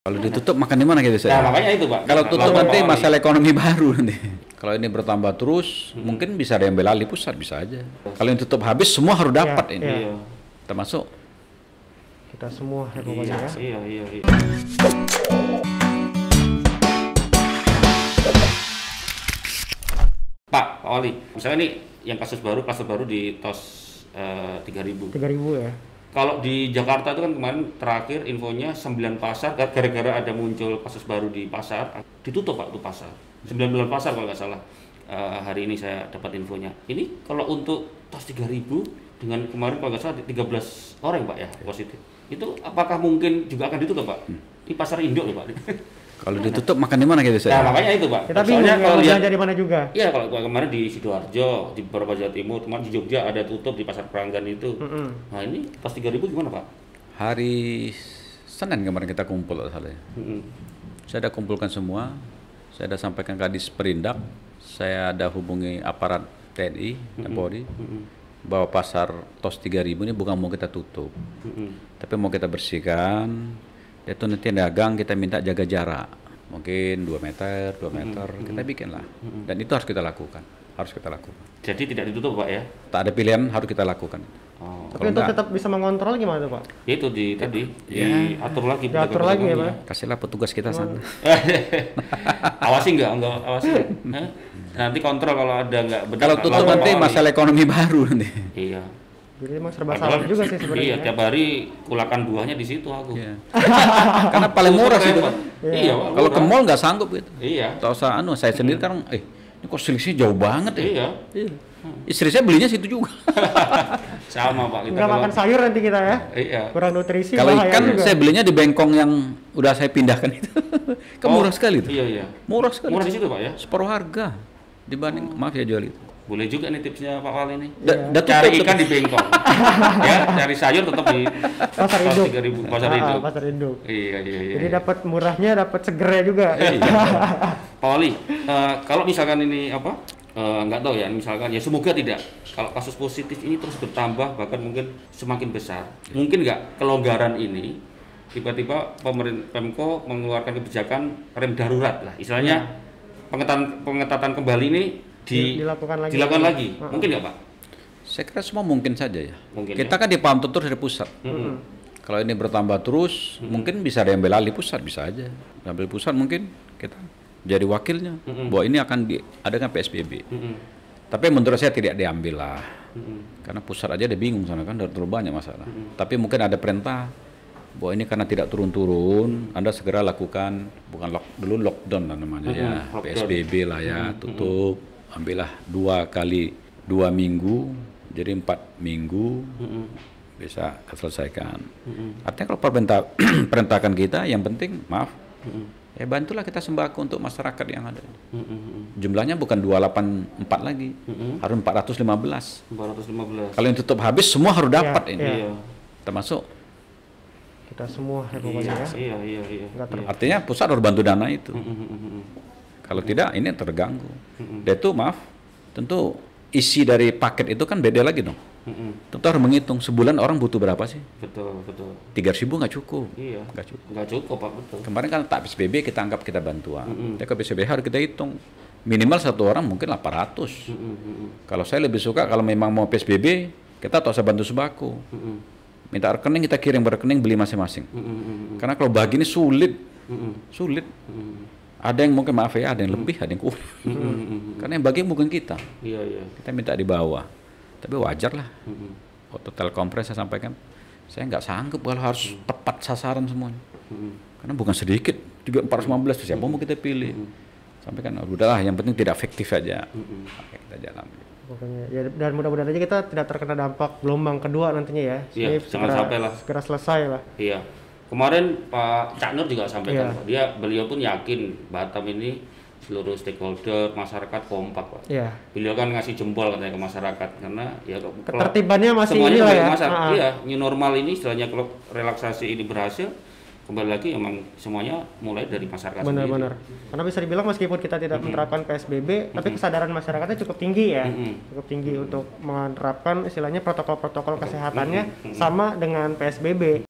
Kalau ditutup makan di mana kita biasanya? Nah, makanya itu, Pak. ya. Kalau Nah, tutup kalau- nanti kalau- masalah ekonomi baru nanti. Kalau ini bertambah terus, Hmm. mungkin bisa ada yang bela alih pusat bisa aja. Kalau yang tutup habis semua harus dapat ini. Iya. iya. Termasuk kita semua ya, Iya, pokoknya ya. iya, iya, iya. Pak Oli, misalnya nih yang kasus baru, kasus baru di TOS eh, 3000. tiga ribu ya Kalau di Jakarta itu kan kemarin terakhir infonya 9 pasar gar- gara-gara ada muncul kasus baru di pasar ditutup Pak itu pasar. 9 bulan pasar kalau nggak salah. Eh, hari ini saya dapat infonya. Ini kalau untuk tas 3000 dengan kemarin kalau nggak salah 13 orang Pak ya positif. Itu apakah mungkin juga akan ditutup Pak? Di pasar induk loh Pak. kalau ditutup makan di mana kita nah biasanya? makanya itu Pak. kita bingung Soalnya Ya, mau kalau lihat belanja di mana juga Iya kalau kalau kemarin di Sidoarjo, di beberapa Jawa Timur, kemarin di Jogja ada tutup di pasar Peranggan itu. Hmm. Nah ini pas 3000 gimana Pak? Hari Senin kemarin kita kumpul asalnya. ya. Mm-mm. Saya ada kumpulkan semua. Saya ada sampaikan ke Kadis Perindak. Saya ada hubungi aparat TNI, Hmm. dan Polri bahwa pasar TOS 3000 ini bukan mau kita tutup. Mm-mm. tapi mau kita bersihkan itu nanti yang dagang kita minta jaga jarak mungkin 2 meter 2 meter kita bikin lah dan itu harus kita lakukan harus kita lakukan Jadi tidak ditutup pak ya? tak ada pilihan harus kita lakukan Oh. Kalau tapi untuk enggak- tetap bisa mengontrol gimana tuh pak Ya itu di tadi diatur lagi. Iya. diatur lagi ya pak kasihlah petugas kita sana awasi nggak? Nggak awasi. nggak? Hah? Nanti kontrol kalau ada nggak benar. kalau nggak tutup lapor, nanti Pak Ali. masalah ekonomi baru nanti Iya. jadi emang serba Padahal- salah juga sih Iya, sebenarnya ya. tiap hari kulakan buahnya di situ aku. Iya. karena paling murah sih itu Pak. Iya. Pak, kalau ke murah. mall nggak sanggup gitu Iya. tak usah anu saya sendiri kan eh ini kok selisih jauh banget ya Mm. Iya. Iya. istri saya belinya situ juga Sama pak kita. nggak kalau- makan sayur nanti kita ya Iya. kurang nutrisi Kalau bahaya ikan juga. saya belinya di bengkong yang udah saya pindahkan itu. kan Oh, murah sekali itu. Iya iya. Murah sekali. Murah di situ pak ya. Separuh harga dibanding maaf ya jual itu. Boleh juga nih tipsnya Pak Wali nih. Iya. Da- da tutup, cari tutup. ikan di bengkong. ya, cari sayur tetap di Pasar induk. 3000 pasar Ah, ah, induk. pasar induk Iya iya iya. jadi dapat murahnya dapat segernya juga Pak Wali, eh, kalau misalkan ini apa? eh, nggak tahu ya, misalkan ya semoga tidak. Kalau kasus positif ini terus bertambah bahkan mungkin semakin besar. Mungkin nggak kelonggaran ini tiba-tiba pemerintah Pemko mengeluarkan kebijakan rem darurat lah. Istilahnya pengetatan pengetatan kembali ini di- Iya. Dilakukan lagi. dilakukan lagi. Mungkin nggak Pak? Saya kira semua mungkin saja ya. Mungkin Kita kan dipaham terus dari pusat. Mm-mm. Kalau ini bertambah terus, mungkin bisa ada yang bela alih pusat bisa aja. Ambil pusat mungkin kita jadi wakilnya bahwa ini akan kan diadakan PSBB. Mm-mm. Tapi menurut saya tidak diambil lah. Karena pusat aja dia bingung sana kan, udah terlalu banyak masalah. Tapi mungkin ada perintah bahwa ini karena tidak turun-turun, Anda segera lakukan bukan lock dulu lockdown lah namanya ya, lockdown. PSBB lah ya, tutup, ambillah dua kali dua minggu, jadi empat minggu bisa selesaikan. Artinya kalau perintah perintahkan kita, yang penting maaf, ya bantulah kita sembako untuk masyarakat yang ada Mm-mm. jumlahnya bukan 284 lagi, Hmm. harus 415. 415. Kalau yang tutup habis semua harus dapat ini. iya. Iya. Termasuk kita semua ya pokoknya Iya, ya iya, iya, iya. Nggak ter- artinya pusat harus bantu dana itu. Mm-mm, mm-mm. Kalau tidak ini terganggu. Dan itu maaf, tentu isi dari paket itu kan beda lagi dong. Mm-mm. Tentu harus menghitung sebulan orang butuh berapa sih? Betul, betul. 300 ribu nggak cukup. Iya. Nggak cukup. Nggak cukup, Pak, betul. Kemarin kan tak PSBB kita anggap kita bantuan. Tapi kalau PSBB harus kita hitung. Minimal satu orang mungkin 800. Mm-mm, mm-mm, Kalau saya lebih suka kalau memang mau PSBB, kita tak usah bantu sembako. mm-mm, Minta rekening kita kirim ke rekening beli masing-masing. mm-mm, mm-mm, Karena kalau bagi ini sulit, mm-mm, sulit. mm-mm, Ada yang mungkin maaf ya, ada yang lebih, ada yang kurang. mm-mm, mm-mm. Karena yang bagi bukan kita. Iya, iya. Kita minta di bawah. Tapi wajar lah. Mm-mm, Waktu telkompres saya sampaikan, saya nggak sanggup kalau harus tepat sasaran semuanya. mm-mm. Karena bukan sedikit, juga 415 siapa mau kita pilih. Sampaikan, "Oh, udahlah yang penting tidak efektif aja. Oke, kita jalan. pokoknya ya, dan mudah-mudahan aja kita tidak terkena dampak gelombang kedua nantinya ya Iya, Ini jangan sampai lah. segera selesai lah Iya. Kemarin Pak Cak Nur juga sampaikan, Iya. Pak. Dia beliau pun yakin Batam ini seluruh stakeholder masyarakat kompak, Pak. ya Beliau kan ngasih jempol katanya ke masyarakat karena ya kalau- Ketertibannya masih semuanya inilah kembali ya. ke masyarakat. Ah. Iya, new normal ini istilahnya kalau relaksasi ini berhasil kembali lagi emang semuanya mulai dari gitu. masyarakat benar-benar karena bisa dibilang meskipun kita tidak menerapkan PSBB tapi kesadaran masyarakatnya cukup tinggi ya cukup tinggi untuk menerapkan istilahnya protokol-protokol kesehatannya sama dengan PSBB